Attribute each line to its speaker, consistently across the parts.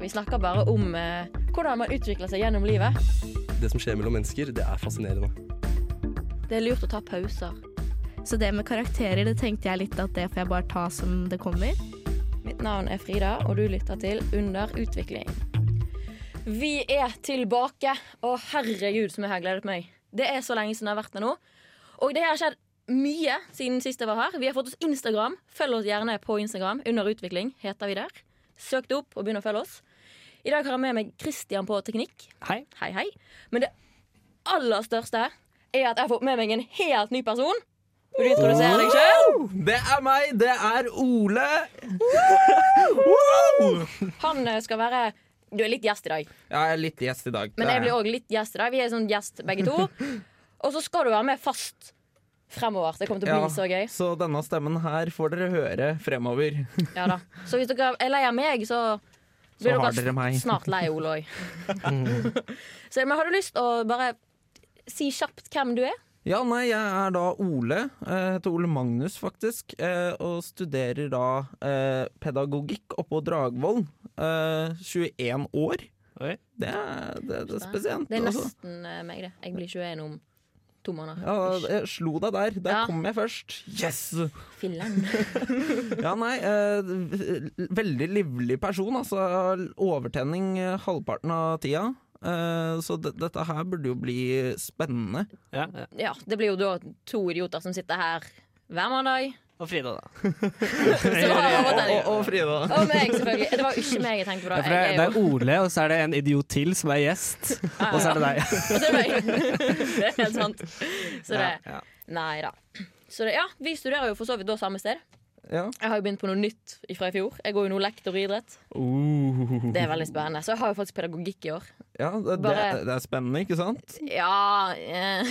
Speaker 1: Vi snakker bare om eh, hvordan man utvikler seg gjennom livet.
Speaker 2: Det som skjer mellom mennesker, det er fascinerende.
Speaker 1: Det er lurt å ta pauser.
Speaker 3: Så det med karakterer, det tenkte jeg litt at det får jeg bare ta som det kommer.
Speaker 1: Mitt navn er Frida, og du lytter til Under utvikling. Vi er tilbake, og herregud som jeg har gledet meg. Det er så lenge siden jeg har vært her nå. Og det har skjedd mye siden sist jeg var her. Vi har fått oss Instagram. Følg oss gjerne på Instagram. Under utvikling heter vi der. Søk det opp og begynn å følge oss. I dag har jeg med meg Christian på teknikk.
Speaker 4: Hei.
Speaker 1: Hei, hei. Men det aller største her er at jeg har fått med meg en helt ny person. Vil du introdusere deg sjøl?
Speaker 4: Det er meg, det er Ole.
Speaker 1: Han eh, skal være Du er litt gjest i dag,
Speaker 4: Jeg er litt gjest i dag.
Speaker 1: men jeg blir òg litt gjest i dag. Vi er sånn gjest begge to. Og så skal du være med fast fremover. Det kommer til å bli så gøy.
Speaker 4: Så denne stemmen her får dere høre fremover.
Speaker 1: Ja da. Så hvis dere er lei av meg, så
Speaker 4: Så
Speaker 1: blir
Speaker 4: har
Speaker 1: dere
Speaker 4: dere meg.
Speaker 1: snart lei av Ole òg. Så men har du lyst å bare si kjapt hvem du er?
Speaker 4: Ja, nei, jeg er da Ole. Jeg heter Ole Magnus, faktisk. eh, Og studerer da eh, pedagogikk oppå Dragvoll. Eh, 21 år.
Speaker 5: Oi.
Speaker 4: Det er, det, det er spesielt.
Speaker 1: Det er
Speaker 4: altså.
Speaker 1: nesten eh, meg, det. Jeg blir 21 om to måneder.
Speaker 4: Ja, jeg slo deg der. Der
Speaker 1: Ja.
Speaker 4: kom jeg først. Yes!
Speaker 1: Filler'n.
Speaker 4: Ja, nei. eh, veldig livlig person. Altså overtenning eh, halvparten av tida. Eh, så det- dette her burde jo bli spennende.
Speaker 5: Ja, ja.
Speaker 1: Ja, det blir jo da to idioter som sitter her hver mandag.
Speaker 5: Og Frida, da.
Speaker 1: Så har
Speaker 4: Og,
Speaker 1: overtenning.
Speaker 4: og, og Frida.
Speaker 1: Og meg, selvfølgelig. Det var jo ikke meg jeg tenkte på.
Speaker 5: Ja,
Speaker 1: da.
Speaker 5: for det,
Speaker 1: Jeg
Speaker 5: det
Speaker 1: er
Speaker 5: er
Speaker 1: jo
Speaker 5: Ole, og så er det en idiot til som er gjest. Og så er det deg.
Speaker 1: Og så er det meg. Det er helt sant. Så det
Speaker 4: Ja, ja.
Speaker 1: Nei da. Så det, ja, vi studerer jo for så vidt da samme sted.
Speaker 4: Ja.
Speaker 1: Jeg har jo begynt på noe nytt fra i fjor. Jeg går jo nå lektor i idrett. Det er veldig spennende. Så jeg har jo faktisk pedagogikk i år.
Speaker 4: Ja, det, det,
Speaker 1: Bare-
Speaker 4: det er spennende, ikke sant?
Speaker 1: Ja eh.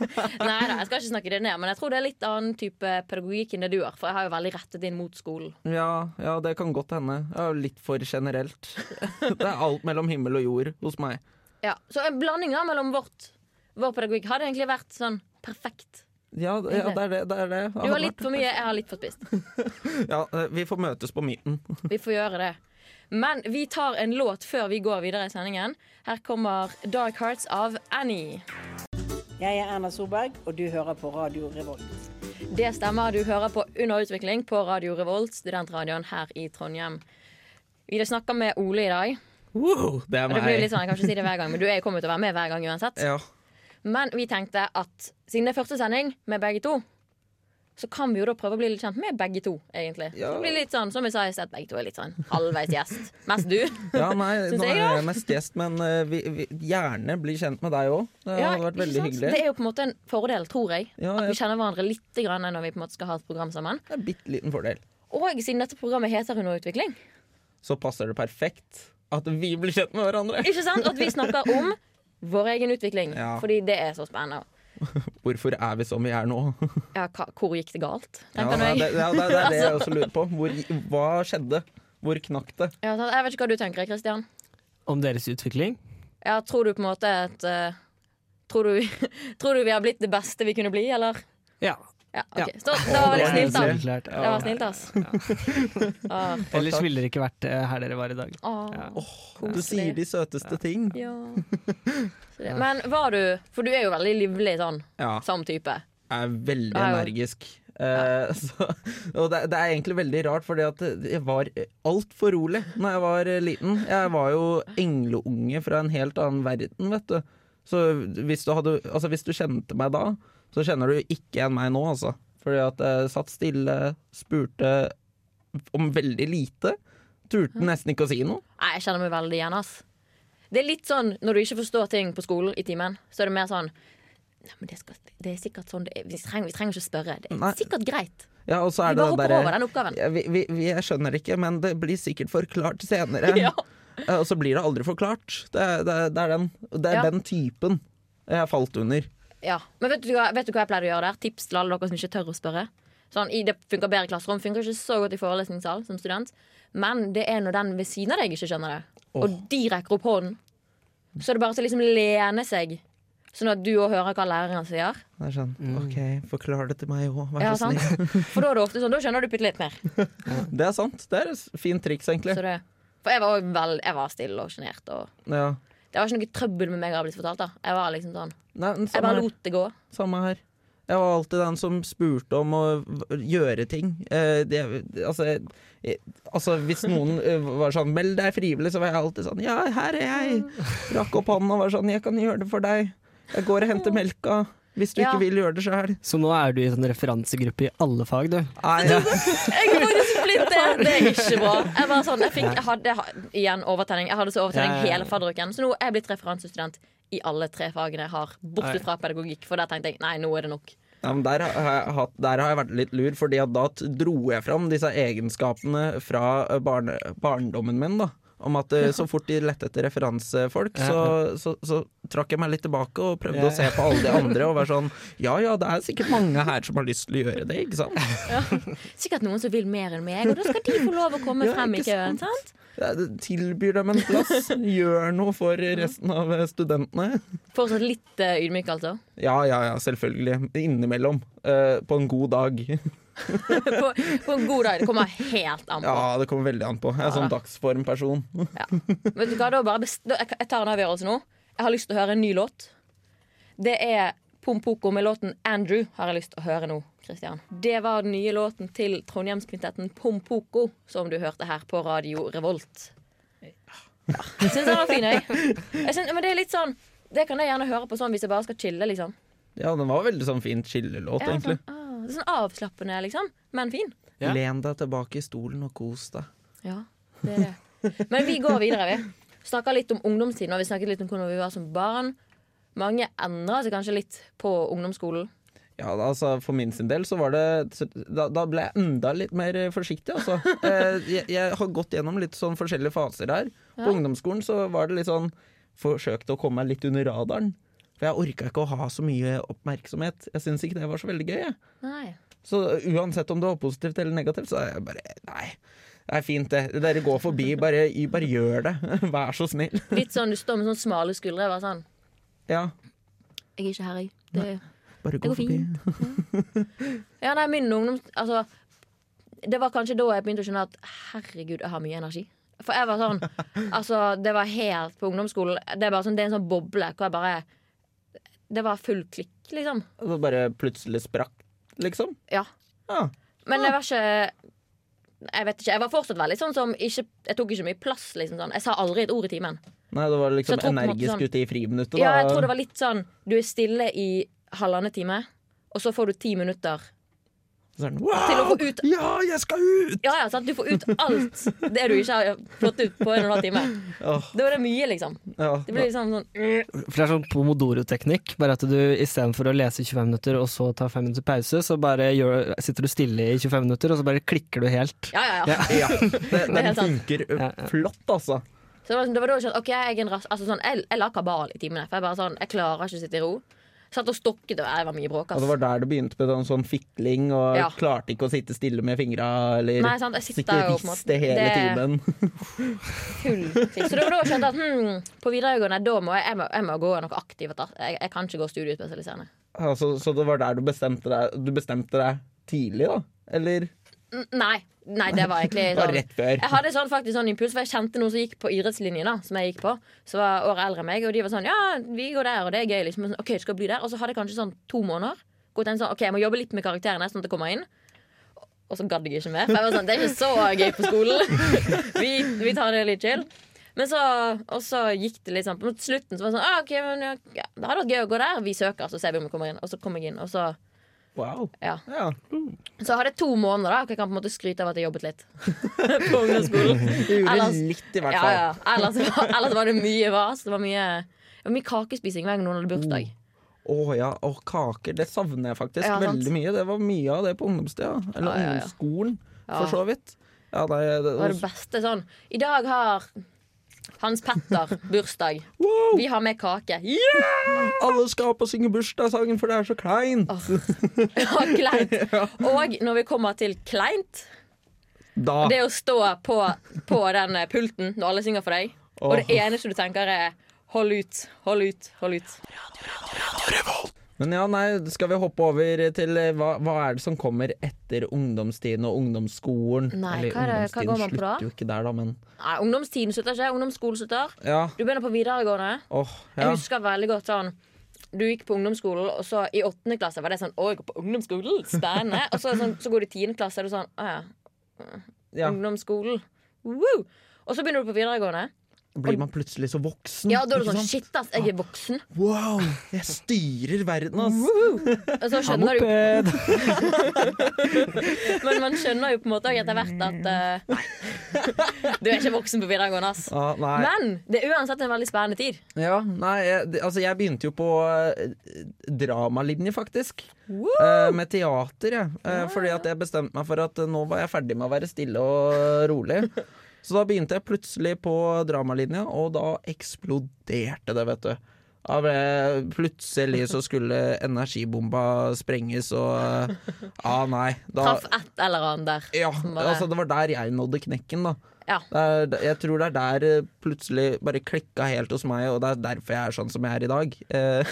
Speaker 1: Nei da, jeg skal ikke snakke det ned, men jeg tror det er litt annen type pedagogikk enn det du har. For jeg har jo veldig rettet inn mot skolen.
Speaker 4: Ja, ja, det kan godt hende. Ja, litt for generelt. Det er alt mellom himmel og jord hos meg.
Speaker 1: Ja, Så en blanding da mellom vårt, vår pedagogikk hadde egentlig vært sånn perfekt.
Speaker 4: Ja, d- ja det er det. det, er det.
Speaker 1: Du har litt for mye, jeg har litt for spist.
Speaker 4: Ja, eh, vi får møtes på midten.
Speaker 1: Vi får gjøre det. Men vi tar en låt før vi går videre i sendingen. Her kommer Dark Hearts av Annie.
Speaker 6: Jeg er Erna Solberg, og du hører på Radio Revolt.
Speaker 1: Det stemmer. Du hører på Under utvikling på Radio Revolt, studentradioen her i Trondheim. Vi snakker med Ole i dag.
Speaker 4: Wow, det er
Speaker 1: Og det blir jo litt sånn, jeg kan ikke si det hver gang, men Du er jo kommet til å være med hver gang uansett.
Speaker 4: Ja.
Speaker 1: Men vi tenkte at siden det er første sending med begge to, så kan vi jo da prøve å bli litt kjent med begge to, egentlig. Så
Speaker 4: Ja.
Speaker 1: det blir litt sånn, Som vi sa i sted, begge to er litt sånn halvveis gjest. Mest du.
Speaker 4: Ja, nei,
Speaker 1: Synes
Speaker 4: nå
Speaker 1: jeg,
Speaker 4: er
Speaker 1: ja.
Speaker 4: jeg mest gjest, men eh, vi, vi, gjerne bli kjent med deg òg. Det
Speaker 1: Ja,
Speaker 4: hadde vært
Speaker 1: ikke
Speaker 4: veldig
Speaker 1: sant?
Speaker 4: hyggelig.
Speaker 1: Det er jo på en måte en fordel, tror jeg.
Speaker 4: Ja,
Speaker 1: At vi
Speaker 4: jeg-
Speaker 1: kjenner hverandre litt grann når vi på en måte skal ha et program sammen.
Speaker 4: Det er en bitte liten fordel.
Speaker 1: Og siden dette programmet heter Under utvikling,
Speaker 4: Så passer det perfekt at vi blir kjent med hverandre.
Speaker 1: ikke sant? at vi snakker om vår egen utvikling.
Speaker 4: Ja.
Speaker 1: Fordi det er så spennende.
Speaker 4: Hvorfor er vi som vi er nå?
Speaker 1: Ja, hva, hvor gikk det galt?
Speaker 4: Ja,
Speaker 1: tenker
Speaker 4: nei,
Speaker 1: nå
Speaker 4: det,
Speaker 1: jeg.
Speaker 4: ja, det, det er det jeg også lurer på. Hvor, hva skjedde? Hvor knakk det?
Speaker 1: Ja, sant? Jeg vet ikke hva du tenker, Kristian.
Speaker 5: Om deres utvikling.
Speaker 1: Ja, tror du på en måte at eh, tror, du, tror du vi har blitt det beste vi kunne bli, eller?
Speaker 5: Ja.
Speaker 1: Ja, ok.
Speaker 5: Ja.
Speaker 1: Så, da var det
Speaker 4: Å,
Speaker 1: snilt, da.
Speaker 4: nydelig.
Speaker 5: Klart.
Speaker 1: Det var snilt, ass. Ah,
Speaker 5: Ellers ville dere ikke vært eh, her dere var i dag.
Speaker 1: ah,
Speaker 5: Ja.
Speaker 4: Du sier de søteste ting.
Speaker 1: Ja. Så det. Men var du For du er jo veldig livlig sånn
Speaker 4: Ja,
Speaker 1: som type.
Speaker 4: jeg er veldig
Speaker 1: Ja, jo.
Speaker 4: energisk. Eh, så, og det, det er egentlig veldig rart, fordi at jeg var altfor rolig Når jeg var eh, liten. Jeg var jo engleunge fra en helt annen verden, vet du. Så hvis du, hadde, altså hvis du kjente meg da, så kjenner du ikke igjen meg nå, altså. Fordi at jeg satt stille, spurte om veldig lite. Turte nesten ikke å si noe.
Speaker 1: Nei, jeg kjenner meg veldig igjen, ass. Det er litt sånn når du ikke forstår ting på skolen i timen, så er det mer sånn Nei, men det, skal, det er sikkert sånn det er. Vi trenger, vi trenger ikke å spørre. Det er
Speaker 4: Nei.
Speaker 1: sikkert greit.
Speaker 4: Ja, og
Speaker 1: Vi
Speaker 4: så er det
Speaker 1: bare
Speaker 4: det
Speaker 1: hopper
Speaker 4: derre-
Speaker 1: over den oppgaven.
Speaker 4: Ja, vi, vi, vi, jeg skjønner ikke, men det blir sikkert forklart senere.
Speaker 1: Ja.
Speaker 4: Eh, Og så blir det aldri forklart. Det, er- det, er- det er, den, det er
Speaker 1: Ja.
Speaker 4: den typen jeg falt under.
Speaker 1: Ja. Men vet du, hva, vet du hva jeg pleide å gjøre der? Tips til alle dere som ikke tør å spørre. Sånn, i, det funker bedre i klasserom, funker ikke så godt i forelesningssal som student. Men det er når den ved siden av deg ikke skjønner det, og de rekker opp hånden, så er det bare til å liksom lene seg, sånn at du òg hører hva læreren sier.
Speaker 4: Det er sånn, OK, forklar det til meg òg, vær
Speaker 1: Ja,
Speaker 4: så
Speaker 1: sant?
Speaker 4: snill.
Speaker 1: For da er det ofte sånn, da skjønner du bitte litt mer.
Speaker 4: Det er sant. Det er et fint triks, egentlig.
Speaker 1: Så det, For jeg var, også vel, jeg var stille og sjenert. og-
Speaker 4: Ja.
Speaker 1: Det var ikke noe trøbbel med meg. Jeg, blitt fortalt, da. jeg var liksom sånn
Speaker 4: Nei, men
Speaker 1: Jeg
Speaker 4: samme,
Speaker 1: bare
Speaker 4: her,
Speaker 1: lot det gå.
Speaker 4: samme her. Jeg var alltid den som spurte om å v- gjøre ting. Eh, det, altså, jeg, jeg, altså, hvis noen eh, var sånn 'meld deg frivillig', så var jeg alltid sånn 'ja, her er jeg'. Rakk opp hånden og var sånn 'jeg kan gjøre det for deg'. Jeg går og henter melka. Hvis du
Speaker 1: Ja.
Speaker 4: ikke vil gjøre det sjøl.
Speaker 5: Så nå er du i sånn referansegruppe i alle fag, du.
Speaker 1: Jeg har faktisk blitt det! Det er ikke bra. Jeg bare sånn, jeg, fikk, jeg hadde jeg ha- igjen overtenning. Jeg hadde så overtenning
Speaker 5: Ja, ja, ja.
Speaker 1: hele fadderuken. Så nå er jeg blitt referansestudent i alle tre fagene jeg har, bortsett fra pedagogikk. For der tenkte jeg nei, nå er det nok.
Speaker 4: Ja, men der, har jeg hatt, der har jeg vært litt lur, Fordi at da t- dro jeg fram disse egenskapene fra eh, barne, barndommen min. da Om at eh, så fort de lette etter referansefolk, så, så, så trakk jeg meg litt tilbake og prøvde
Speaker 5: Ja.
Speaker 4: å se på alle de andre og være sånn Ja ja, det er sikkert mange her som har lyst til å gjøre det, ikke sant?
Speaker 1: Sikkert noen som vil mer enn meg, og da skal de få lov å komme
Speaker 4: Ja,
Speaker 1: frem i
Speaker 4: ikke
Speaker 1: køen.
Speaker 4: sant?
Speaker 1: sant?
Speaker 4: Ja, det- Tilbyr dem en plass, gjør noe for resten av eh, studentene.
Speaker 1: Fortsatt litt eh, ydmyk, altså.
Speaker 4: Ja ja ja, selvfølgelig. Innimellom. eh, på en god dag.
Speaker 1: På, på en god dag. Det kommer helt an på.
Speaker 4: Ja, det kommer veldig an på. Jeg er sånn dagsformperson.
Speaker 1: Vet du hva, da bare best... da, jeg, jeg tar en avgjørelse nå. Jeg har lyst til å høre en ny låt. Det er Pompoko med låten 'Andrew' har jeg lyst til å høre nå. Christian. Det var den nye låten til Trondheimskvintetten Pompoko, som du hørte her på Radio Revolt. Ja. Jeg syns den var fin, jeg. jeg synes, men det er litt sånn Det kan jeg gjerne høre på sånn hvis jeg bare skal chille, liksom.
Speaker 4: Ja, den var veldig sånn fin chillelåt,
Speaker 1: Ja,
Speaker 4: egentlig.
Speaker 1: sånn, ah, det er sånn avslappende, liksom. Men fin.
Speaker 5: Ja.
Speaker 4: Len deg tilbake i stolen og kos deg.
Speaker 1: Ja, det er det. Men vi går videre, vi. Snakker litt om ungdomstiden. Og vi snakket litt om hvordan vi var som barn. Mange endrer seg kanskje litt på ungdomsskolen.
Speaker 4: Ja, da, altså For min sin del så var det Da, da ble jeg enda litt mer eh, forsiktig, altså. Eh, Jeg, jeg har gått gjennom litt sånn forskjellige faser her. På ungdomsskolen så var det litt sånn Forsøkte å komme meg litt under radaren. For jeg orka ikke å ha så mye oppmerksomhet. Jeg syns ikke det var så veldig gøy. Jeg.
Speaker 1: Nei.
Speaker 4: Så uansett om det var positivt eller negativt, så er jeg bare Nei, det er fint, det. Dere går forbi. Bare, bare gjør det. Vær så snill.
Speaker 1: Litt sånn, Du står med sånne smale skuldre. Bare sånn,
Speaker 4: Ja,
Speaker 1: jeg er ikke her, jeg. Det,
Speaker 4: bare
Speaker 1: det
Speaker 4: gå
Speaker 1: går
Speaker 4: forbi.
Speaker 1: fint. Ja, nei, min ungdoms... Altså, det var kanskje da jeg begynte å skjønne at herregud, jeg har mye energi. For jeg var sånn Altså, det var helt på ungdomsskolen. Det er bare sånn, det er en sånn boble hvor jeg bare Det var full klikk, liksom.
Speaker 4: Og det bare plutselig sprakk, liksom.
Speaker 1: Ja.
Speaker 4: Ja.
Speaker 1: Men jeg var ikke Jeg vet ikke, jeg var fortsatt veldig sånn som ikke, Jeg tok ikke mye plass. liksom sånn Jeg sa aldri et ord i timen.
Speaker 4: Nei, det var
Speaker 1: Så jeg
Speaker 4: liksom
Speaker 1: tror på en måte
Speaker 4: energisk
Speaker 1: sånn-
Speaker 4: ute i friminuttet, da.
Speaker 1: Ja, jeg tror det var litt sånn Du er stille i halvannen time, og så får du ti minutter
Speaker 4: sånn, wow,
Speaker 1: til å få ut
Speaker 4: Ja, jeg skal ut!
Speaker 1: Ja, ja, sant? Du får ut alt det du ikke har fått ut på en og en halv time.
Speaker 4: Åh,
Speaker 1: Da er det mye, liksom.
Speaker 4: ja.
Speaker 1: Det blir liksom sånn
Speaker 5: For det er sånn pomodoro-teknikk. Bare at du istedenfor å lese i 25 minutter og så ta 5 minutter pause, så bare gjør, sitter du stille i 25 minutter, og så bare klikker du helt.
Speaker 1: Ja, ja, ja.
Speaker 4: ja, det,
Speaker 1: er
Speaker 4: den
Speaker 1: helt sant.
Speaker 4: funker
Speaker 5: Ja, ja.
Speaker 4: flott, altså.
Speaker 1: Så det var, sånn- det var da jeg skjønte OK, jeg er en ras... Altså sånn, jeg, jeg la kabal i timene. For jeg bare sånn Jeg klarer ikke å sitte i ro. Satt og stokket, og jeg var mye bråk,
Speaker 4: Og
Speaker 1: ass.
Speaker 4: det var der det begynte med sånn, sånn fikling, og
Speaker 1: Ja.
Speaker 4: klarte ikke å sitte stille med fingra, eller
Speaker 1: Nei, sant, jeg sitter
Speaker 4: sitte
Speaker 1: jo på en måte
Speaker 4: riste hele
Speaker 1: Det-
Speaker 4: timen.
Speaker 1: full ting. Så det var da jeg skjønte at hmm, på videregående da må jeg, jeg, må, jeg må gå noe aktivt. da. Jeg, jeg kan ikke gå studiespesialiserende.
Speaker 4: Ja, så, Altså, så det var der du bestemte deg, du bestemte deg tidlig, da? Eller
Speaker 1: N- Nei, nei, det var egentlig
Speaker 4: det var
Speaker 1: sånn.
Speaker 4: rett før?
Speaker 1: Jeg hadde sånn, faktisk sånn impuls, for jeg kjente noen som gikk på idrettslinjen. da Som jeg gikk på Som var året eldre enn meg, og de var sånn Ja, vi går der, og det er gøy. liksom Men sånn, Ok, skal jeg bli der Og så hadde jeg kanskje sånn to måneder. Gått en sånn, ok, Jeg må jobbe litt med karakterene, sånn at det kommer inn. Og så gadd jeg ikke mer. For jeg var sånn, det er ikke så gøy på skolen. vi, vi tar det litt chill. Men så, og så gikk det litt sånn På slutten så var det sånn ah, ok, men, ja, ja, Det hadde vært gøy å gå der. Vi søker, så ser vi om vi kommer inn. Og så kom jeg inn. Og så,
Speaker 4: Wow.
Speaker 1: ja.
Speaker 4: Ja.
Speaker 1: så jeg hadde jeg to måneder da hvor jeg kan på en måte skryte av at jeg jobbet litt. på ungdomsskolen.
Speaker 4: Du gjorde
Speaker 1: Ellers-
Speaker 4: litt, i hvert
Speaker 1: Ja,
Speaker 4: fall.
Speaker 1: ja. Ellers, var, ellers var det mye vas. Det var mye, det var mye kakespising hver gang noen hadde bursdag.
Speaker 4: Mm. Å ja, og kaker. Det savner jeg faktisk
Speaker 1: Ja, sant.
Speaker 4: veldig mye. Det var mye av det på ungdomstida. Eller
Speaker 1: Ja, ja, ja.
Speaker 4: ungdomsskolen,
Speaker 1: Ja.
Speaker 4: for så vidt. Ja, nei, det,
Speaker 1: Det var det beste sånn. I dag har Hans Petter bursdag.
Speaker 4: wow,
Speaker 1: Vi har med kake. Ja!
Speaker 4: alle skal opp og synge bursdagssangen, for det er så kleint!
Speaker 1: Ja, kleint. Og når vi kommer til kleint,
Speaker 4: Da
Speaker 1: det å stå på, på den eh, pulten når alle synger for deg, og det eneste du tenker er hold ut, hold ut, hold ut.
Speaker 4: Men ja, nei, skal vi hoppe over til eh, hva, hva er det som kommer etter ungdomstiden og ungdomsskolen?
Speaker 1: Nei, hva er det- hva går man på da?
Speaker 4: slutter jo ikke der, da, men
Speaker 1: Nei, ungdomstiden slutter ikke. Ungdomsskolen slutter.
Speaker 4: Ja.
Speaker 1: Du begynner på videregående.
Speaker 4: Åh, ja.
Speaker 1: Jeg husker veldig godt sånn Du gikk på ungdomsskolen, og så i åttende klasse var det sånn Å, jeg går på ungdomsskolen, spennende. og så, er det sånn, så går du i tiende klasse, og du er sånn Å ja,
Speaker 4: ja.
Speaker 1: ungdomsskolen. Woo! Og så begynner du på videregående.
Speaker 4: Blir man plutselig så voksen?
Speaker 1: Ja, da er du
Speaker 4: Mm. ikke
Speaker 1: sånn
Speaker 4: sant?
Speaker 1: Shit, ass, jeg er voksen.
Speaker 4: Wow! Jeg styrer verden, ass!
Speaker 1: Og så
Speaker 5: Ha
Speaker 1: skjønner du
Speaker 5: moped!
Speaker 1: Men man skjønner jo på en måte også etter hvert at eh, Nei. Du er ikke voksen på videregående, ass.
Speaker 4: Ah, nei.
Speaker 1: Men det er uansett en veldig spennende tid.
Speaker 4: Ja, nei, jeg, det- altså jeg begynte jo på eh, dramalinje, faktisk. Eh, med teater, jeg. Eh, fordi at jeg bestemte meg for at eh, nå var jeg ferdig med å være stille og rolig. Så da begynte jeg plutselig på dramalinja, og da eksploderte det, vet du. Da ble, plutselig så skulle energibomba sprenges, og eh, ah, nei. Da,
Speaker 1: Traff et eller annet der.
Speaker 4: ja,
Speaker 1: som bare-
Speaker 4: altså det var der jeg nådde knekken, da.
Speaker 1: Ja.
Speaker 4: Det er, jeg tror det er der eh, plutselig bare klikka helt hos meg, og det er derfor jeg er sånn som jeg er i dag. Eh,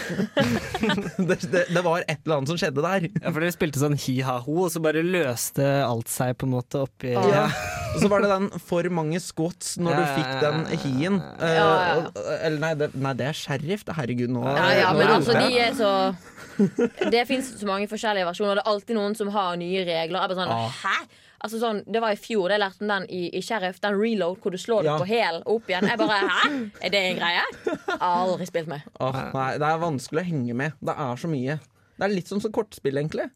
Speaker 4: det, det, det var et eller annet som skjedde der.
Speaker 5: Ja, for dere spilte sånn hi-ha-ho, og så bare løste alt seg på en måte oppi
Speaker 1: Ah.
Speaker 4: Ja. Og så var det den for mange squats når
Speaker 5: Ja,
Speaker 4: du
Speaker 5: ja,
Speaker 4: fikk
Speaker 5: ja,
Speaker 4: den
Speaker 5: ja, ja.
Speaker 4: hien. Eh,
Speaker 1: Ja, ja,
Speaker 4: og- Eller nei det, nei, det er sheriff. det- Herregud, nå
Speaker 1: Ja, ja,
Speaker 4: nå
Speaker 1: men
Speaker 4: roper
Speaker 1: altså,
Speaker 4: jeg.
Speaker 1: de er så Det fins så mange forskjellige versjoner. og Det er alltid noen som har nye regler. Jeg bare sånn, Hæ? Altså sånn, Det var i fjor jeg lærte om den i, i Sheriff. Den reload hvor du slår
Speaker 4: Ja.
Speaker 1: det på hæl og opp igjen. Jeg bare Hæ? Er det en greie? Aldri spilt med.
Speaker 4: Åh, nei, det er vanskelig å henge med. Det er så mye. Det er litt som så kortspill, egentlig.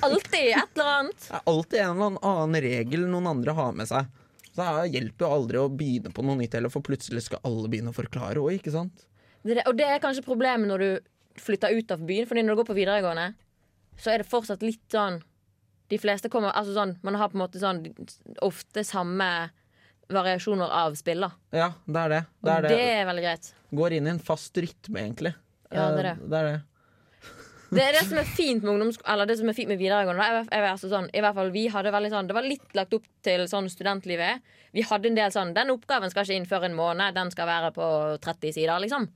Speaker 1: Alltid et eller annet.
Speaker 4: Det er alltid en eller annen regel noen andre har med seg. Så det hjelper jo aldri å begynne på noe nytt heller, for plutselig skal alle begynne å forklare òg, ikke sant?
Speaker 1: Det, er det- og det er kanskje problemet når du flytter ut av byen. Fordi når du går på videregående, så er det fortsatt litt sånn De fleste kommer Altså sånn Man har på en måte sånn ofte samme variasjoner av spill, da.
Speaker 4: Ja, det er det.
Speaker 1: Og
Speaker 4: det, er
Speaker 1: det
Speaker 4: det.
Speaker 1: er veldig greit.
Speaker 4: Går inn i en fast rytme, egentlig.
Speaker 1: Ja, det er
Speaker 4: Eh,
Speaker 1: det.
Speaker 4: det, er det.
Speaker 1: Det er det som er fint med ungdomssko- Eller det som er fint med videregående. da. Jeg, var- jeg, var altså sånn, I hvert fall vi hadde veldig sånn Det var litt lagt opp til sånn studentlivet. Vi hadde en del sånn Den oppgaven skal ikke inn før en måned. Den skal være på 30 sider, liksom.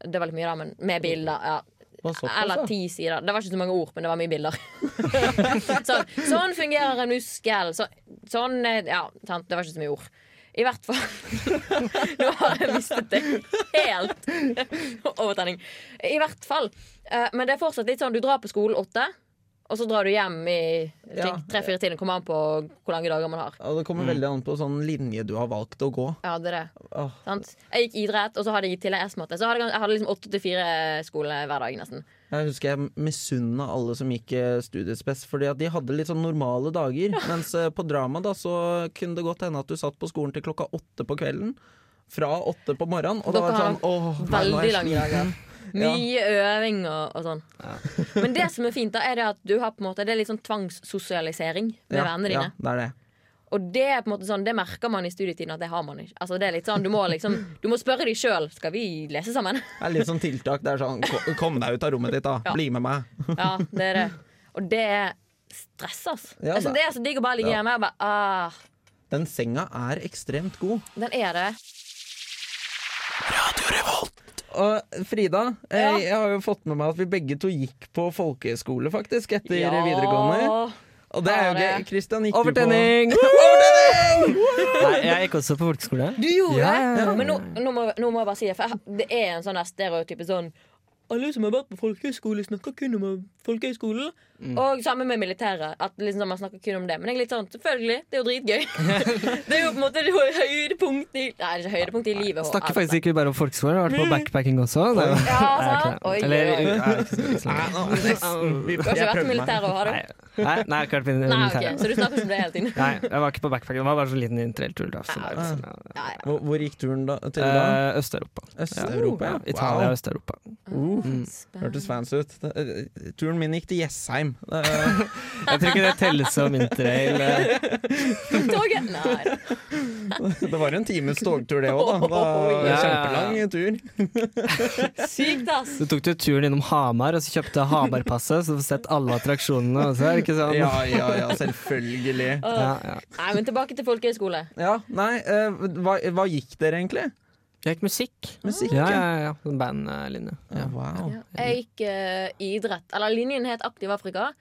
Speaker 1: Det var litt mye, da, men med bilder. ja
Speaker 4: Det var såpass,
Speaker 1: Eller
Speaker 4: ja.
Speaker 1: ti sider. Det var ikke så mange ord, men det var mye bilder. sånn, sånn fungerer en muskel. Så, sånn eh, Ja, sant. Det var ikke så mye ord. I hvert fall. Nå har jeg mistet det helt. Overtenning. I hvert fall. Eh, Men det er fortsatt litt sånn du drar på skolen åtte, og så drar du hjem i
Speaker 4: Ja.
Speaker 1: tre-fire tiden. Kommer an på hvor lange dager man har.
Speaker 4: Ja, det kommer veldig an på sånn linje du har valgt å gå.
Speaker 1: Ja, det er det.
Speaker 4: Åh,
Speaker 1: Sant? Jeg gikk idrett, og så hadde jeg i tillegg S-matte. Så hadde jeg, jeg hadde liksom åtte til fire skole hver dag, nesten.
Speaker 4: jeg husker jeg misunna alle som gikk eh, studiespes, fordi at de hadde litt sånn normale dager. Mens eh, på drama da, så kunne det godt hende at du satt på skolen til klokka åtte på kvelden. Fra åtte på morgenen. Og det
Speaker 1: Dere
Speaker 4: var
Speaker 1: har
Speaker 4: sånn åh, nei, nå er
Speaker 1: Veldig
Speaker 4: jeg
Speaker 1: lange
Speaker 4: sliten.
Speaker 1: dager.
Speaker 4: Ja.
Speaker 1: Mye øving og, og sånn. Men det som er fint, da, er det at du har på en måte Det er litt sånn tvangssosialisering med vennene dine.
Speaker 4: Ja, det er det.
Speaker 1: Og det er på en måte sånn, det merker man i studietiden at det har man ikke. Altså det er litt sånn, Du må liksom, du må spørre de sjøl. Skal vi lese sammen?
Speaker 4: Det er litt sånn tiltak. Det er sånn ko- Kom deg ut av rommet ditt, da.
Speaker 1: Ja.
Speaker 4: Bli med meg.
Speaker 1: Ja, det er det. Og det er stress, altså.
Speaker 4: Ja,
Speaker 1: jeg synes
Speaker 4: det-
Speaker 1: det er så digg å bare ligge hjemme og bare ah,
Speaker 4: Den senga er ekstremt god.
Speaker 1: Den er det.
Speaker 4: Og Frida, eh,
Speaker 1: Ja.
Speaker 4: jeg har jo fått med meg at vi begge to gikk på folkehøyskole, faktisk, etter
Speaker 1: Ja.
Speaker 4: videregående. Og det er jo
Speaker 1: Ja,
Speaker 4: gøy.
Speaker 1: det.
Speaker 4: Christian, gikk
Speaker 5: Overtenning!
Speaker 4: du på Overtenning!
Speaker 5: Nei, jeg gikk også på folkeskole.
Speaker 1: Du gjorde
Speaker 5: Ja,
Speaker 1: det! Men nå, nå, må, nå må jeg bare si det, for jeg, det er en sånn der stereotype sånn alle som har vært på folkehøyskole, snakker kun om folkehøyskolen.
Speaker 5: Mm.
Speaker 1: Og sammen med militæret. At liksom sånn, man snakker kun om det Men jeg er litt sånn, selvfølgelig, det er jo dritgøy. det er jo på en måte det høydepunktet i Nei, det er ikke høydepunktet i livet. og alt,
Speaker 5: Snakker faktisk ikke bare om folkeskole, jeg har vært på backpacking også. Det er jo-
Speaker 1: Ja,
Speaker 5: Jeg
Speaker 1: sant? Oi,
Speaker 5: er
Speaker 1: oi, oi.
Speaker 5: ikke det. Eller, jeg er ikke så- ikke så-
Speaker 4: Nei, nå, nesten. Vi-
Speaker 1: Du har ikke
Speaker 4: jeg
Speaker 1: vært i
Speaker 4: prøvde meg.
Speaker 1: militæret, har du?
Speaker 5: Nei, nei, nei, jeg har ikke vært på
Speaker 1: Nei, ok,
Speaker 5: militæret. Mm.
Speaker 1: Så du snakker som det hele tiden?
Speaker 5: Nei, jeg var ikke på backpacking. Det var bare så liten interrailtur. da, så
Speaker 1: Ja,
Speaker 5: det var liksom, ja.
Speaker 1: Ja, ja.
Speaker 4: Hvor, hvor gikk turen da, til da?
Speaker 5: Eh, Øst-Europa.
Speaker 4: Øst-Europa, ja.
Speaker 5: Ja,
Speaker 4: Wow.
Speaker 5: Italia og
Speaker 4: Mm.
Speaker 5: Øst-Europa.
Speaker 1: Mm.
Speaker 4: Hørtes fancy ut. Det- eh, Turen min gikk til Jessheim. Eh,
Speaker 5: Jeg tror ikke det telles som interrail. eh.
Speaker 1: Toget? Nei.
Speaker 4: Det var en times togtur, det òg, da. Det
Speaker 1: Oh,
Speaker 4: var en
Speaker 5: Ja, ja,
Speaker 4: kjempelang tur.
Speaker 1: Sykt, ass.
Speaker 5: Så tok du turen innom Hamar, og så kjøpte Hamar-passet, så du får sett alle attraksjonene også, er det ikke sånn?
Speaker 4: Ja, ja, ja, selvfølgelig.
Speaker 5: Ja, ja.
Speaker 1: Nei, men tilbake til folkehøyskole.
Speaker 4: Ja, nei, eh, hva, hva gikk dere egentlig?
Speaker 5: Jeg gikk musikk.
Speaker 4: Musikk,
Speaker 5: Ja, ja, ja. Sånn Bandlinje.
Speaker 4: Ja, wow.
Speaker 1: Jeg gikk eh, idrett. Eller linjen het Aktiv Afrika.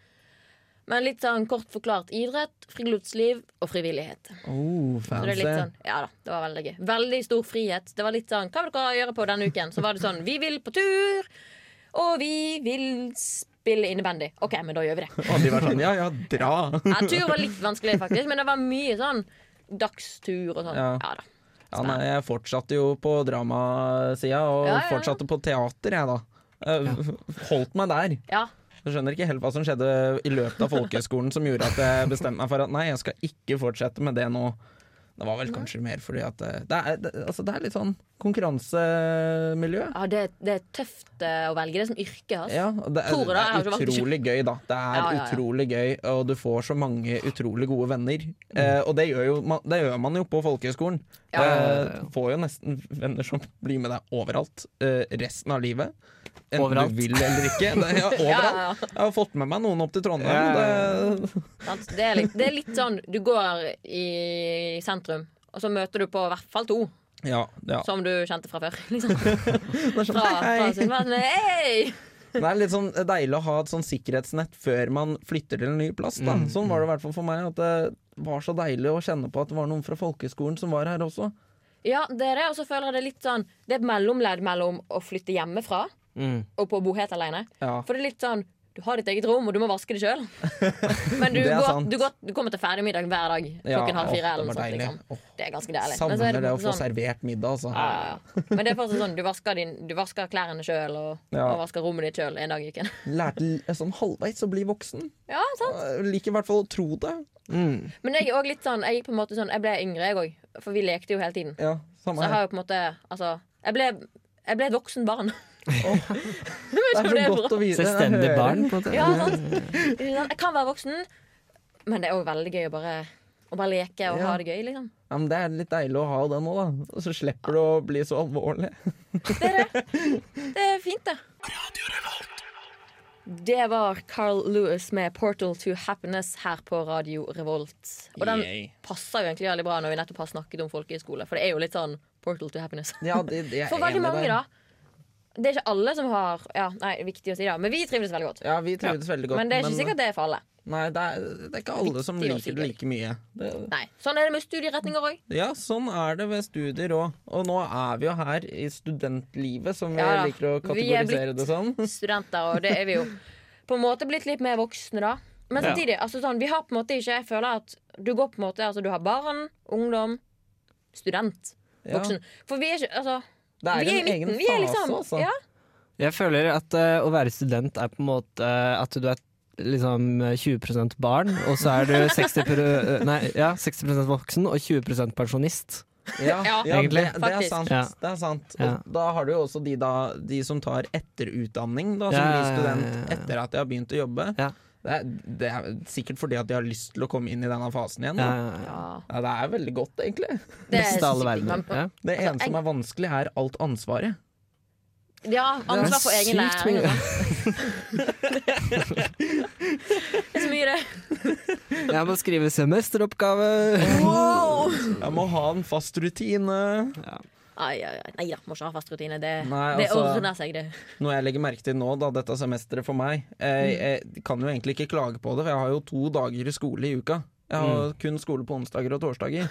Speaker 1: Men litt sånn kort forklart idrett, friluftsliv og frivillighet.
Speaker 4: Oh,
Speaker 1: Så det er
Speaker 4: fancy.
Speaker 1: litt sånn, ja da, det var veldig gøy. Veldig stor frihet. Det var litt sånn, Hva vil dere gjøre på denne uken? Så var det sånn, vi vil på tur, og vi vil spille innebandy. OK, men da gjør vi det.
Speaker 4: Aldri vært sånn ja ja, dra!
Speaker 1: Ja, tur var litt vanskelig, faktisk, men det var mye sånn dagstur og sånn.
Speaker 4: Ja.
Speaker 1: Ja da.
Speaker 4: Ja, nei, jeg fortsatte jo på dramasida, og
Speaker 1: Ja, ja, ja.
Speaker 4: fortsatte på teater, jeg, da. Eh, Holdt meg der.
Speaker 1: Ja,
Speaker 4: Jeg skjønner ikke helt hva som skjedde i løpet av folkehøyskolen som gjorde at jeg bestemte meg for at nei, jeg skal ikke fortsette med det nå. Det var vel kanskje mer fordi at eh, Det er, det, altså, det er litt sånn konkurransemiljø.
Speaker 1: ja det, det er tøft eh, å velge det som yrke. Altså.
Speaker 4: Ja, og det er,
Speaker 1: Tore,
Speaker 4: det
Speaker 1: jeg har ikke
Speaker 4: er
Speaker 1: vært
Speaker 4: utrolig gøy, da. Det
Speaker 1: Ja,
Speaker 4: er
Speaker 1: ja, ja.
Speaker 4: utrolig gøy, og du får så mange utrolig gode venner. Eh, og det gjør, jo man, det gjør man jo på folkehøyskolen.
Speaker 1: Mm. Ja, ja,
Speaker 5: ja, ja.
Speaker 4: Eh, får jo nesten venner som blir med deg overalt eh, resten av livet. Enten
Speaker 5: Overalt.
Speaker 4: du vil eller ikke. Det, ja,
Speaker 1: Ja,
Speaker 4: overalt.
Speaker 1: ja,
Speaker 4: Jeg har fått med meg noen opp til Trondheim.
Speaker 5: Ja, ja,
Speaker 4: Det,
Speaker 1: sant? Det, er litt, det er litt sånn Du går i sentrum, og så møter du på i hvert fall to
Speaker 4: ja, ja.
Speaker 1: som du kjente fra før. Liksom.
Speaker 4: Det er sånn,
Speaker 1: Fra, fra,
Speaker 4: hei, hei.
Speaker 1: fra, hei!
Speaker 4: Det er litt sånn deilig å ha et sånn sikkerhetsnett før man flytter til en ny plass. Da.
Speaker 5: Mm,
Speaker 4: Sånn var det i hvert fall for meg. At det var så deilig å kjenne på at det var noen fra folkehøyskolen som var her også.
Speaker 1: Ja, det er det. Og så føler jeg det er litt sånn Det er et mellomledd mellom å flytte hjemmefra
Speaker 5: Mm.
Speaker 1: og på å bo helt alene.
Speaker 4: Ja.
Speaker 1: For det er litt sånn du har ditt eget rom, og du må vaske det sjøl. Men du,
Speaker 4: Det er
Speaker 1: går,
Speaker 4: sant.
Speaker 1: du, går, du kommer til ferdig middag hver dag
Speaker 4: Ja,
Speaker 1: klokken halv
Speaker 4: åh,
Speaker 1: fire. eller noe
Speaker 4: det var
Speaker 1: sånt,
Speaker 4: deilig.
Speaker 1: liksom.
Speaker 4: Åh,
Speaker 1: Det er ganske deilig. Men så er
Speaker 4: savner
Speaker 1: det,
Speaker 4: det, å
Speaker 1: på
Speaker 4: få
Speaker 1: en sånn,
Speaker 4: servert middag, altså.
Speaker 1: ja, ja, ja. Men det er fortsatt sånn du vasker, din, du vasker klærne sjøl og,
Speaker 4: Ja.
Speaker 1: og vasker rommet ditt sjøl en dag i uken.
Speaker 4: Lærte l- sånn halvveis å bli voksen.
Speaker 1: Ja, sant?
Speaker 4: Jeg Liker i hvert fall å tro det.
Speaker 5: Mm.
Speaker 1: Men jeg er også litt sånn Jeg gikk på en måte sånn Jeg ble yngre, jeg òg. For vi lekte jo hele tiden.
Speaker 4: Ja, samme
Speaker 1: Så jeg
Speaker 4: her.
Speaker 1: har jo på en måte Altså, jeg ble, jeg ble et voksen barn.
Speaker 4: Det
Speaker 1: om
Speaker 4: er
Speaker 1: det er
Speaker 4: så godt å vite.
Speaker 5: Selvstendig
Speaker 4: Jeg hører.
Speaker 5: barn, på en måte.
Speaker 1: Ja, sant? Ikke sant? Jeg kan være voksen, men det er òg veldig gøy å bare, å bare leke og
Speaker 4: Ja.
Speaker 1: ha det gøy. liksom
Speaker 4: Ja, men det er litt deilig å ha den òg, da. Og så slipper du å bli så alvorlig.
Speaker 1: Det er fint, det. Det var Carl Lewis med 'Portal to Happiness' her på Radio Revolt. Og den
Speaker 4: Yay.
Speaker 1: passer jo egentlig veldig bra når vi nettopp har snakket om folkehøyskole. For det er jo litt sånn 'Portal to Happiness'.
Speaker 4: Ja, det- jeg er
Speaker 1: For veldig
Speaker 4: enig
Speaker 1: mange,
Speaker 4: der.
Speaker 1: da. Det er ikke alle som har Ja, nei, viktig å si det, men vi trives veldig godt.
Speaker 4: Ja, vi trivdes veldig godt.
Speaker 1: Men det er ikke sikkert det er for alle.
Speaker 4: Nei, det er, det er ikke alle som
Speaker 1: Viktig å
Speaker 4: liker det
Speaker 1: sikre.
Speaker 4: like mye. Det,
Speaker 1: Nei. Sånn er det med studieretninger òg.
Speaker 4: ja, sånn er det ved studier òg. Og nå er vi jo her i studentlivet, som vi
Speaker 1: Ja da.
Speaker 4: liker å
Speaker 1: Vi er
Speaker 4: kategorisere det som.
Speaker 1: studenter, og det er vi jo på en måte blitt litt mer voksne, da. Men
Speaker 5: Ja.
Speaker 1: samtidig, altså sånn, vi har på en måte ikke Jeg føler at du går på en måte Altså, du har barn, ungdom, student,
Speaker 4: Ja,
Speaker 1: voksen. For vi er ikke Altså,
Speaker 4: det er
Speaker 1: vi er i
Speaker 4: en egen
Speaker 1: midten. Vi
Speaker 4: fase,
Speaker 1: er liksom
Speaker 4: altså.
Speaker 1: Ja,
Speaker 5: Jeg føler at eh, å være student er på en måte eh, at du er liksom eh, 20 barn, og så er du 60, pro- eh, nei, ja, 60 voksen og 20 pensjonist.
Speaker 4: Ja,
Speaker 1: Ja,
Speaker 4: ja, det,
Speaker 5: egentlig.
Speaker 4: det er
Speaker 1: Faktisk.
Speaker 4: sant.
Speaker 5: Ja.
Speaker 4: Det er sant. Og
Speaker 5: Ja.
Speaker 4: da har du jo også de, da, de som tar etterutdanning, da, som
Speaker 5: Ja,
Speaker 4: blir
Speaker 5: ja, ja,
Speaker 4: student
Speaker 5: ja, ja.
Speaker 4: etter at de har begynt å jobbe.
Speaker 5: Ja.
Speaker 4: Det, er, det er sikkert fordi at de har lyst til å komme inn i denne fasen igjen. Da.
Speaker 5: Ja, ja.
Speaker 1: ja.
Speaker 4: Ja, det er veldig godt, egentlig.
Speaker 1: Det er
Speaker 5: Eh, Beste av
Speaker 1: sykt
Speaker 5: alle verdener.
Speaker 1: mange-
Speaker 5: Ja.
Speaker 4: Det
Speaker 1: Altså,
Speaker 4: ene som er vanskelig, er alt ansvaret.
Speaker 1: Ja, ansvar for egen
Speaker 5: sykt
Speaker 1: læring. altså.
Speaker 5: mye.
Speaker 1: og sånn. Det er så mye, det.
Speaker 5: Jeg må skrive semesteroppgave!
Speaker 4: Jeg må ha en fast rutine.
Speaker 1: Ai, ai, ai. Nei da, må ikke ha fast rutine. Det,
Speaker 4: Nei,
Speaker 1: det
Speaker 4: altså-
Speaker 1: ordner seg, det.
Speaker 4: Noe jeg legger merke til nå, da, dette semesteret for meg jeg,
Speaker 1: Mm.
Speaker 4: jeg kan jo egentlig ikke klage på det, for jeg har jo to dager i skole i uka. Jeg har
Speaker 1: Mm.
Speaker 4: jo kun skole på onsdager og torsdager.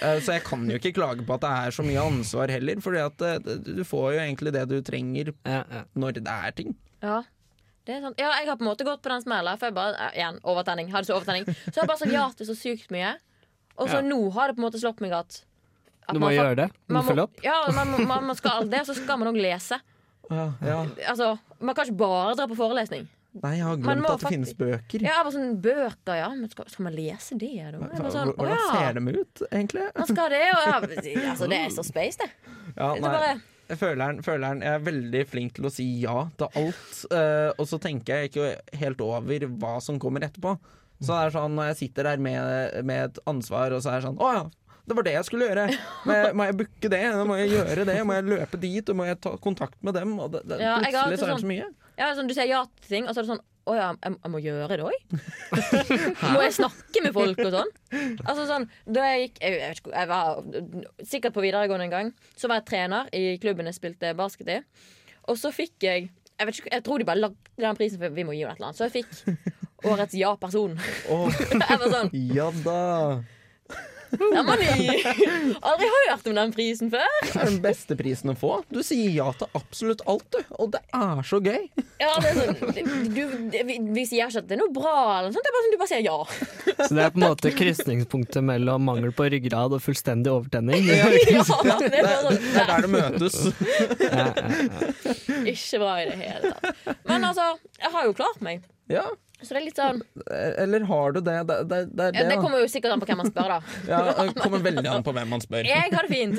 Speaker 4: Eh, Så jeg kan jo ikke klage på at det er så mye ansvar heller, Fordi at eh, du får jo egentlig det du trenger
Speaker 5: Ja, ja.
Speaker 4: når det er ting.
Speaker 1: Ja. Det er sant. ja, jeg har på en måte gått på den smella. For jeg bare, eh, igjen, overtenning. Hadde så overtenning. Så jeg har bare sagt ja til så sykt mye. Og så
Speaker 5: Ja.
Speaker 1: nå har det på en måte slått meg at, at
Speaker 5: Du må
Speaker 1: fa-
Speaker 5: gjøre det. Du må
Speaker 1: man
Speaker 5: følge opp.
Speaker 1: Ja, man, må- man, man skal alt det, og så skal man òg lese.
Speaker 4: Ja.
Speaker 1: Altså, man kan ikke bare dra på forelesning.
Speaker 4: Nei, jeg har
Speaker 1: Man
Speaker 4: glemt
Speaker 1: må
Speaker 4: at det finnes bøker.
Speaker 1: Ja, jeg var sånn Bøker, ja. Men skal, skal man lese det, da? Jeg var sånn, å
Speaker 4: Hvordan
Speaker 1: ja,
Speaker 4: ser de ut, egentlig?
Speaker 1: man skal det, og ja, altså, det er så space, det.
Speaker 4: Ja,
Speaker 1: Så
Speaker 4: nei.
Speaker 1: bare,
Speaker 4: Jeg føler den, føler den. Jeg er veldig flink til å si ja til alt, eh, og så tenker jeg ikke helt over hva som kommer etterpå. Så det er sånn når jeg sitter der med, med et ansvar, og så er det sånn Å ja, det var det jeg skulle gjøre. Må jeg, må jeg booke det? Må jeg gjøre det? Må jeg løpe dit? Og må jeg ta kontakt med dem? Og det, det,
Speaker 1: Ja, jeg har
Speaker 4: plutselig så er det
Speaker 1: alltid
Speaker 4: så mye.
Speaker 1: ja, sånn, du sier ja til ting, og så er det sånn Å ja, jeg, jeg må gjøre det òg? må jeg snakke med folk og sånn? Altså sånn, Da jeg gikk jeg, jeg, vet ikke, jeg var sikkert på videregående en gang. Så var jeg trener i klubben jeg spilte basket i. Og så fikk jeg Jeg, vet ikke, jeg tror de bare lagde den prisen for vi må gi henne et eller annet. Så jeg fikk årets ja-person. jeg var sånn
Speaker 4: Ja da!
Speaker 1: Den var ny! Aldri hørt om den prisen før!
Speaker 4: Det er den beste prisen å få. Du sier ja til absolutt alt, du. Og det er så gøy.
Speaker 1: Ja, det er sånn, du, det, vi, vi sier ikke at det er noe bra, eller noe sånt. Det er bare sånn, du bare sier ja.
Speaker 5: Så det er på en måte krysningspunktet mellom mangel på ryggrad og fullstendig overtenning.
Speaker 1: ja det er bare sånn,
Speaker 4: Det er der det møtes.
Speaker 1: Ikke bra i det hele tatt. Men altså, jeg har jo klart meg.
Speaker 4: Ja.
Speaker 1: Så det er litt sånn
Speaker 4: Eller har du det? Det, det, det er
Speaker 1: ja,
Speaker 4: det.
Speaker 1: Det
Speaker 4: da.
Speaker 1: kommer jo sikkert an på hvem man spør, da.
Speaker 4: Ja, det kommer veldig an på hvem man spør.
Speaker 1: Jeg har det fint.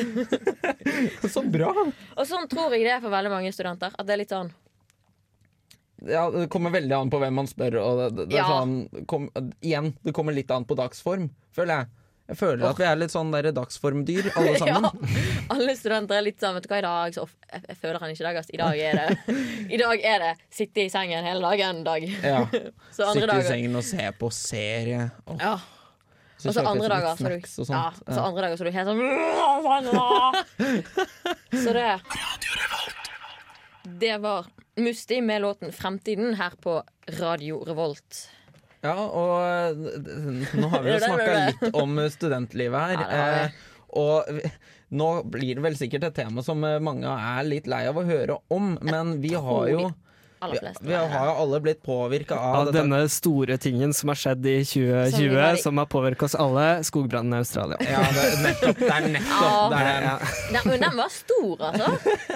Speaker 4: Så bra!
Speaker 1: Og sånn tror jeg det er for veldig mange studenter. At det er litt sånn
Speaker 4: Ja, det kommer veldig an på hvem man spør. Og det, det, det er
Speaker 1: Ja.
Speaker 4: sånn, kom, igjen, det kommer litt an på dagsform, føler jeg. Jeg føler at vi er litt sånn der dagsformdyr, alle sammen.
Speaker 1: Ja, alle studenter er litt sånn Vet du hva, i dag så of, jeg, jeg føler han ikke i dag, ass. I dag er det I dag er det sitte i sengen hele dagen dag.
Speaker 4: Ja.
Speaker 1: Så andre
Speaker 4: Sitte i
Speaker 1: dager
Speaker 4: sengen og se på serie. Og
Speaker 1: ja. Og så
Speaker 4: kjøper
Speaker 1: Altså, andre
Speaker 4: jeg sånn
Speaker 1: dager så er du
Speaker 4: litt snacks
Speaker 1: ja,
Speaker 4: og sånt.
Speaker 1: Så andre dager så er du helt sånn Så det Det var Musti med låten 'Fremtiden' her på Radio Revolt.
Speaker 4: Ja, og eh, nå har
Speaker 1: Det er
Speaker 4: vi jo
Speaker 1: det, det
Speaker 4: snakka
Speaker 1: er det.
Speaker 4: litt om eh, studentlivet
Speaker 1: Ja,
Speaker 4: her.
Speaker 1: det har vi.
Speaker 4: eh, og vi- nå blir det vel sikkert et tema som eh, mange er litt lei av å høre om, men vi har
Speaker 1: tror
Speaker 4: jo,
Speaker 1: de Aller
Speaker 4: vi,
Speaker 1: flest.
Speaker 4: vi har jo alle blitt påvirka av
Speaker 5: Av
Speaker 4: dette.
Speaker 5: denne store tingen som har skjedd i
Speaker 1: Som vi var
Speaker 5: 2020,
Speaker 1: i-
Speaker 5: som har påvirket oss alle, skogbrannen i Australia.
Speaker 4: Ja, det, er nettopp, det er nettopp det er,
Speaker 5: Ja,
Speaker 1: Den, men den var stor, altså.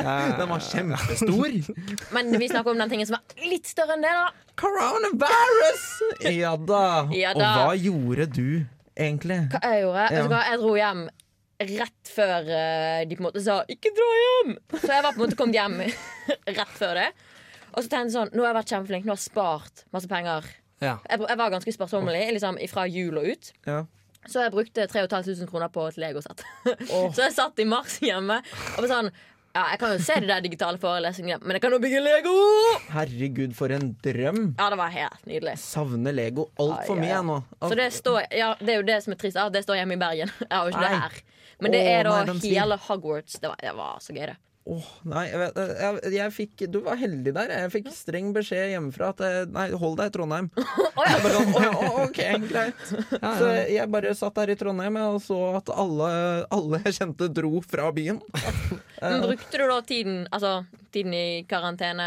Speaker 4: Den var kjempestor.
Speaker 1: Men vi snakker om den tingen som var litt større enn det, da.
Speaker 4: Coronavirus! Ja da.
Speaker 1: Ja
Speaker 4: Og
Speaker 1: da.
Speaker 4: hva gjorde du, egentlig?
Speaker 1: Hva jeg gjorde? Vet
Speaker 4: Ja.
Speaker 1: du hva? Jeg dro hjem rett før eh, de på en måte sa 'ikke dra hjem'. Så jeg var på en måte kommet hjem rett før det. Og så tenkte jeg sånn, nå har jeg vært kjempeflink, nå har jeg spart masse penger.
Speaker 5: ja.
Speaker 1: Jeg, br- jeg var ganske sparsommelig liksom, fra jul og ut.
Speaker 4: Ja.
Speaker 1: Så jeg brukte 3500 kroner på et legosett. Så jeg satt i mars hjemme og var sånn ja, Jeg kan jo se de der digitale forelesningene, men jeg kan jo bygge Lego!
Speaker 4: Herregud, for en drøm.
Speaker 1: Ja, det var helt nydelig.
Speaker 4: Savner Lego altfor
Speaker 1: Ai,
Speaker 4: mye
Speaker 1: ai.
Speaker 4: jeg nå.
Speaker 1: Så det står, ja, det er jo det som er trist. Ja, det står hjemme i Bergen. Jeg har jo ikke det
Speaker 4: Nei.
Speaker 1: her. Men det
Speaker 4: Å,
Speaker 1: er da
Speaker 4: nei, de sier-
Speaker 1: hele Hogwarts. Det var, det var så gøy, det.
Speaker 4: Åh, nei, jeg, vet- jeg, jeg fikk Du var heldig der. Jeg fikk streng beskjed hjemmefra at eh, Nei, hold deg i Trondheim. Jeg bare sånn, «Å, å, ok, greit. Så jeg bare satt der i Trondheim og så at alle, alle jeg kjente, dro fra byen.
Speaker 1: Men brukte du da tiden, altså, tiden i karantene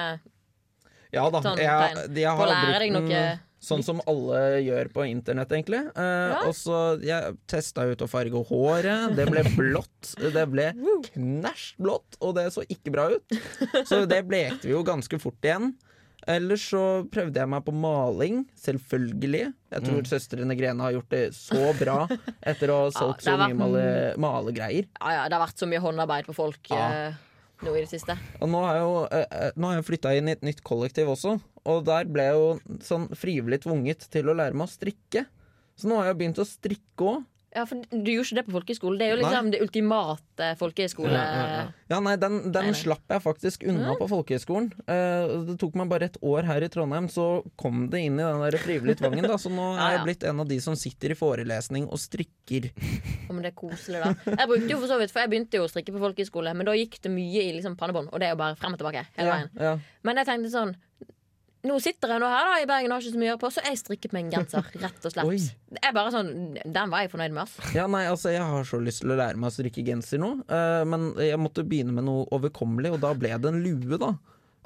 Speaker 4: Ja da.
Speaker 1: Sånn,
Speaker 4: Jeg,
Speaker 1: tegn.
Speaker 4: jeg
Speaker 1: Må
Speaker 4: har
Speaker 1: lære deg
Speaker 4: brukt
Speaker 1: noe
Speaker 4: den sånn som alle gjør på internett, egentlig. Eh, Og så Jeg testa ut å farge håret. Det ble blått. Det ble knæsj blått, og det så ikke bra ut. Så det blekte vi jo ganske fort igjen. Ellers så prøvde jeg meg på maling, selvfølgelig. Jeg tror
Speaker 1: Mm.
Speaker 4: søstrene Grene har gjort det så bra etter å ha solgt
Speaker 1: det
Speaker 4: så
Speaker 1: har vært-
Speaker 4: mye male, malegreier.
Speaker 1: Ja ja, det har vært så mye håndarbeid på folk
Speaker 4: Ja.
Speaker 1: eh, nå i det siste.
Speaker 4: Og nå har jeg jo, eh, eh, nå har jeg flytta inn i et nytt kollektiv også, og der ble jeg jo sånn frivillig tvunget til å lære meg å strikke. Så nå har jeg begynt å strikke òg.
Speaker 1: Ja, for du gjorde ikke det på folkehøyskole. Det er jo liksom det ultimate folkehøyskole...
Speaker 5: Ja, ja, ja.
Speaker 4: Ja, nei, den, den
Speaker 1: Nei, nei.
Speaker 4: slapp jeg faktisk unna på folkehøyskolen. Eh, det tok meg bare et år her i Trondheim, så kom det inn i den der frivillige tvangen, da. Så nå
Speaker 1: Ja,
Speaker 4: er
Speaker 1: ja.
Speaker 4: jeg blitt en av de som sitter i forelesning og strikker.
Speaker 1: Ja, Men det er koselig, da. Jeg brukte jo for så vidt, for jeg begynte jo å strikke på folkehøyskole, men da gikk det mye i liksom pannebånd, og det er jo bare frem og tilbake hele
Speaker 4: Ja,
Speaker 1: veien.
Speaker 4: ja.
Speaker 1: Men jeg tenkte sånn Nå sitter jeg nå her da i Bergen og har ikke så mye å gjøre på, så jeg strikket meg en genser, rett og slett.
Speaker 4: Oi.
Speaker 1: Jeg bare sånn, Den var jeg fornøyd med, ass.
Speaker 4: ja, nei, altså, jeg har så lyst til å lære meg å strikke genser nå, eh, men jeg måtte begynne med noe overkommelig, og da ble det en lue, da.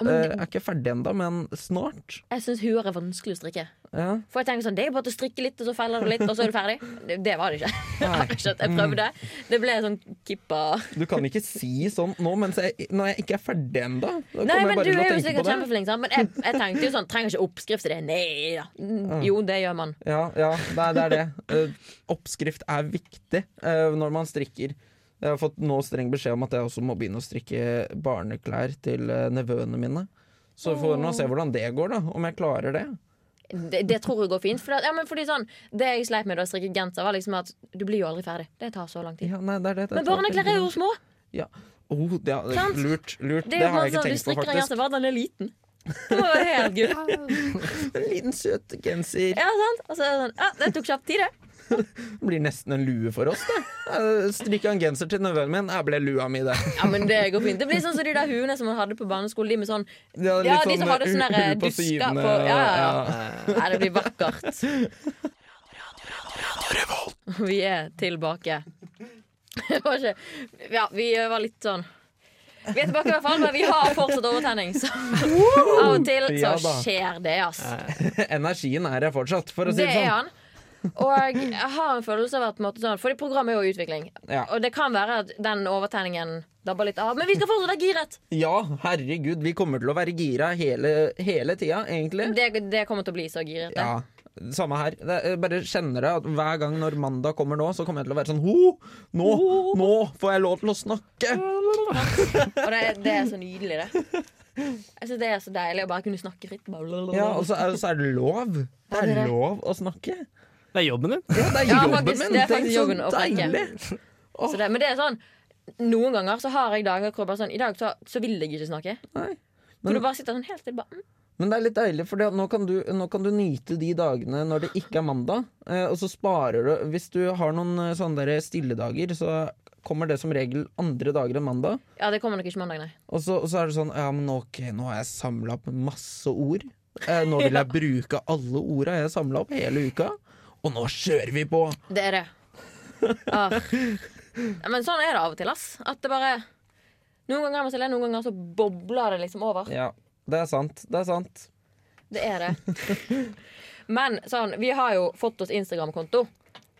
Speaker 1: Å, men
Speaker 4: Eh,
Speaker 1: det-
Speaker 4: jeg er ikke ferdig ennå, men snart.
Speaker 1: Jeg syns huer er vanskelig å strikke.
Speaker 4: Ja.
Speaker 1: For jeg tenker sånn, Det er jo bare til å strikke litt, og så feller det litt, og så er du ferdig. Det, det var det ikke. Jeg har ikke skjønt, Jeg prøvde.
Speaker 4: Mm.
Speaker 1: Det ble sånn kippa
Speaker 4: Du kan ikke si sånn nå mens jeg, når jeg ikke er ferdig ennå. Da
Speaker 1: Nei,
Speaker 4: kommer jeg
Speaker 1: men
Speaker 4: bare
Speaker 1: du
Speaker 4: til å
Speaker 1: er jo
Speaker 4: tenke
Speaker 1: sikkert
Speaker 4: på det.
Speaker 1: kjempeflink, sant? men jeg, jeg tenkte jo sånn Trenger ikke oppskrift til det. Nei da. Mm, Jo, det gjør man.
Speaker 4: Ja, ja det, er, det er det. Eh, oppskrift er viktig eh, når man strikker. Jeg har fått nå streng beskjed om at jeg også må begynne å strikke barneklær til eh, nevøene mine. Så får vi nå se hvordan det går, da. Om jeg klarer det.
Speaker 1: Det, det tror jeg går fint. For det, ja, men fordi sånn, det jeg sleit med da jeg strikket genser, var liksom at du blir jo aldri ferdig. Det tar så lang tid.
Speaker 4: Ja, nei, det er det. det
Speaker 1: Men
Speaker 4: tar
Speaker 1: barneklær er jo små.
Speaker 4: Ja. Oh, det er,
Speaker 1: Sant?
Speaker 4: lurt. lurt.
Speaker 1: Det
Speaker 4: Det,
Speaker 1: er jo sånn
Speaker 4: har jeg ikke
Speaker 1: som du
Speaker 4: tenkt på,
Speaker 1: strikker en
Speaker 4: faktisk.
Speaker 1: genser, bare den er liten. Det var helt gull.
Speaker 4: En liten søt genser.
Speaker 1: Ja, sant? Og så er det sånn, ja, det tok kjapt tid, det.
Speaker 4: Det blir nesten en lue for oss, da. Jeg Strikka en genser til nevøen min, jeg ble lua mi, det.
Speaker 1: Ja, men Det går fint. Det blir sånn som de der huene som man hadde på barneskolen. De med sånn
Speaker 4: De hadde
Speaker 1: Ja,
Speaker 4: litt
Speaker 1: de som
Speaker 4: sånn,
Speaker 1: hadde
Speaker 4: uh,
Speaker 1: sånne
Speaker 4: hu-
Speaker 1: der eh,
Speaker 4: hu på
Speaker 1: dusker
Speaker 4: sidene,
Speaker 1: på Ja, ja,
Speaker 4: og-
Speaker 1: ja. Nei, det blir vakkert. Vi er tilbake. Det var ikke Ja, vi var litt sånn Vi er tilbake i hvert fall, men vi har fortsatt overtenning. Så av og til så
Speaker 4: Ja da.
Speaker 1: skjer det, ass.
Speaker 4: Energien er her fortsatt, for å si
Speaker 1: Det
Speaker 4: det
Speaker 1: er
Speaker 4: sånn.
Speaker 1: han. Og jeg har en følelse av at på en måte sånn, Fordi programmet er jo i utvikling.
Speaker 4: Ja.
Speaker 1: Og det kan være at den overtenningen dabber litt av. Men vi skal fortsatt være giret!
Speaker 4: Ja, herregud, vi kommer til å være gira hele, hele tida, egentlig.
Speaker 1: Det, det kommer til å bli så giret. det.
Speaker 4: Ja, samme her. Det, jeg bare kjenner det at hver gang når mandag kommer nå, så kommer jeg til å være sånn Ho! Nå, nå får jeg lov til å snakke!
Speaker 1: Og det, det er så nydelig, det. Jeg synes Det er så deilig å bare kunne snakke fritt. Bare blablabla.
Speaker 4: Ja, og så er, så er det lov. Det
Speaker 1: det
Speaker 4: er
Speaker 1: er det.
Speaker 4: lov å snakke.
Speaker 5: Det er jobben din.
Speaker 4: Ja, det er
Speaker 1: Ja,
Speaker 4: jobben
Speaker 1: faktisk,
Speaker 4: min!
Speaker 1: det er faktisk
Speaker 4: Tenk
Speaker 1: jobben å
Speaker 4: så
Speaker 1: snakke.
Speaker 4: deilig!
Speaker 1: Så det, men det er sånn noen ganger så har jeg dager hvor jeg bare sånn I dag så, så vil jeg ikke snakke.
Speaker 4: Nei.
Speaker 1: Men, du bare sitter sånn helt stille. bare, mm.
Speaker 4: Men det er litt deilig, for nå, kan du- nå kan du nyte de dagene når det ikke er mandag. Eh, og så sparer du Hvis du har noen eh, sånne der stille dager, så kommer det som regel andre dager enn mandag.
Speaker 1: Ja, det kommer nok ikke mandag, nei.
Speaker 4: Og så, og så er det sånn Ja, men ok, nå har jeg samla opp masse ord. Eh, nå vil jeg bruke alle orda jeg har samla opp hele uka. Og nå kjører vi på!
Speaker 1: Det er det. Arr. Ja, Men sånn er det av og til, ass. At det bare Noen ganger er man stille, noen ganger så bobler det liksom over.
Speaker 4: Ja, det er sant. Det er sant.
Speaker 1: Det er det. Men sånn, vi har jo fått oss Instagram-konto,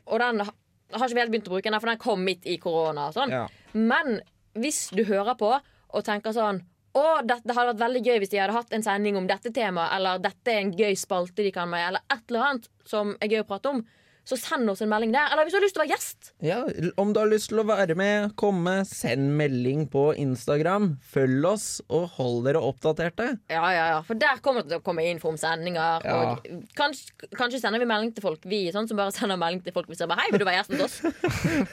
Speaker 1: og den ha- har ikke vi helt begynt å bruke ennå, for den kom midt i korona og sånn.
Speaker 4: Ja.
Speaker 1: Men hvis du hører på og tenker sånn å, dette det hadde vært veldig gøy hvis de hadde hatt en sending om dette temaet, eller dette er en gøy spalte de kan med, eller et eller annet som er gøy å prate om, så send oss en melding der. Eller hvis du har lyst til å være gjest.
Speaker 4: Ja, om du har lyst til å være med, komme, send melding på Instagram. Følg oss, og hold dere oppdaterte.
Speaker 1: Ja, ja, ja, For der kommer det til å komme info om sendinger.
Speaker 4: Ja.
Speaker 1: Og kanskje, kanskje sender vi melding til folk, vi sånn som bare sender melding til folk vi ser bare, Hei, vil du være gjest hos oss?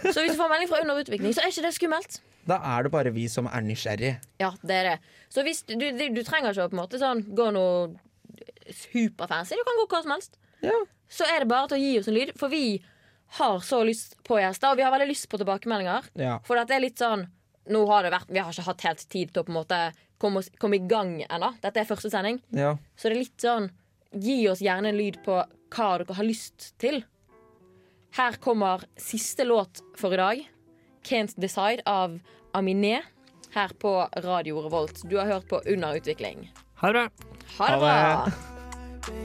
Speaker 1: så hvis du får melding fra Under utvikling, så er ikke det skummelt.
Speaker 4: Da er det bare vi som er nysgjerrige.
Speaker 1: Ja, det er det. Så hvis du, du, du trenger ikke å på en måte sånn gå noe superfancy. Du kan gå hva som helst.
Speaker 4: Ja.
Speaker 1: Så er det bare til å gi oss en lyd, for vi har så lyst på gjester, og vi har veldig lyst på tilbakemeldinger.
Speaker 4: Ja.
Speaker 1: For at det er litt sånn nå har det vært, Vi har ikke hatt helt tid til å på en måte komme, oss, komme i gang ennå. Dette er første sending.
Speaker 4: ja.
Speaker 1: Så det er litt sånn Gi oss gjerne en lyd på hva dere har lyst til. Her kommer siste låt for i dag. 'Can't Decide' av Aminé. Her på Radio Revolt. Du har hørt på Under utvikling.
Speaker 5: Ha det bra.
Speaker 1: Ha det
Speaker 5: Ha
Speaker 1: bra!
Speaker 5: det.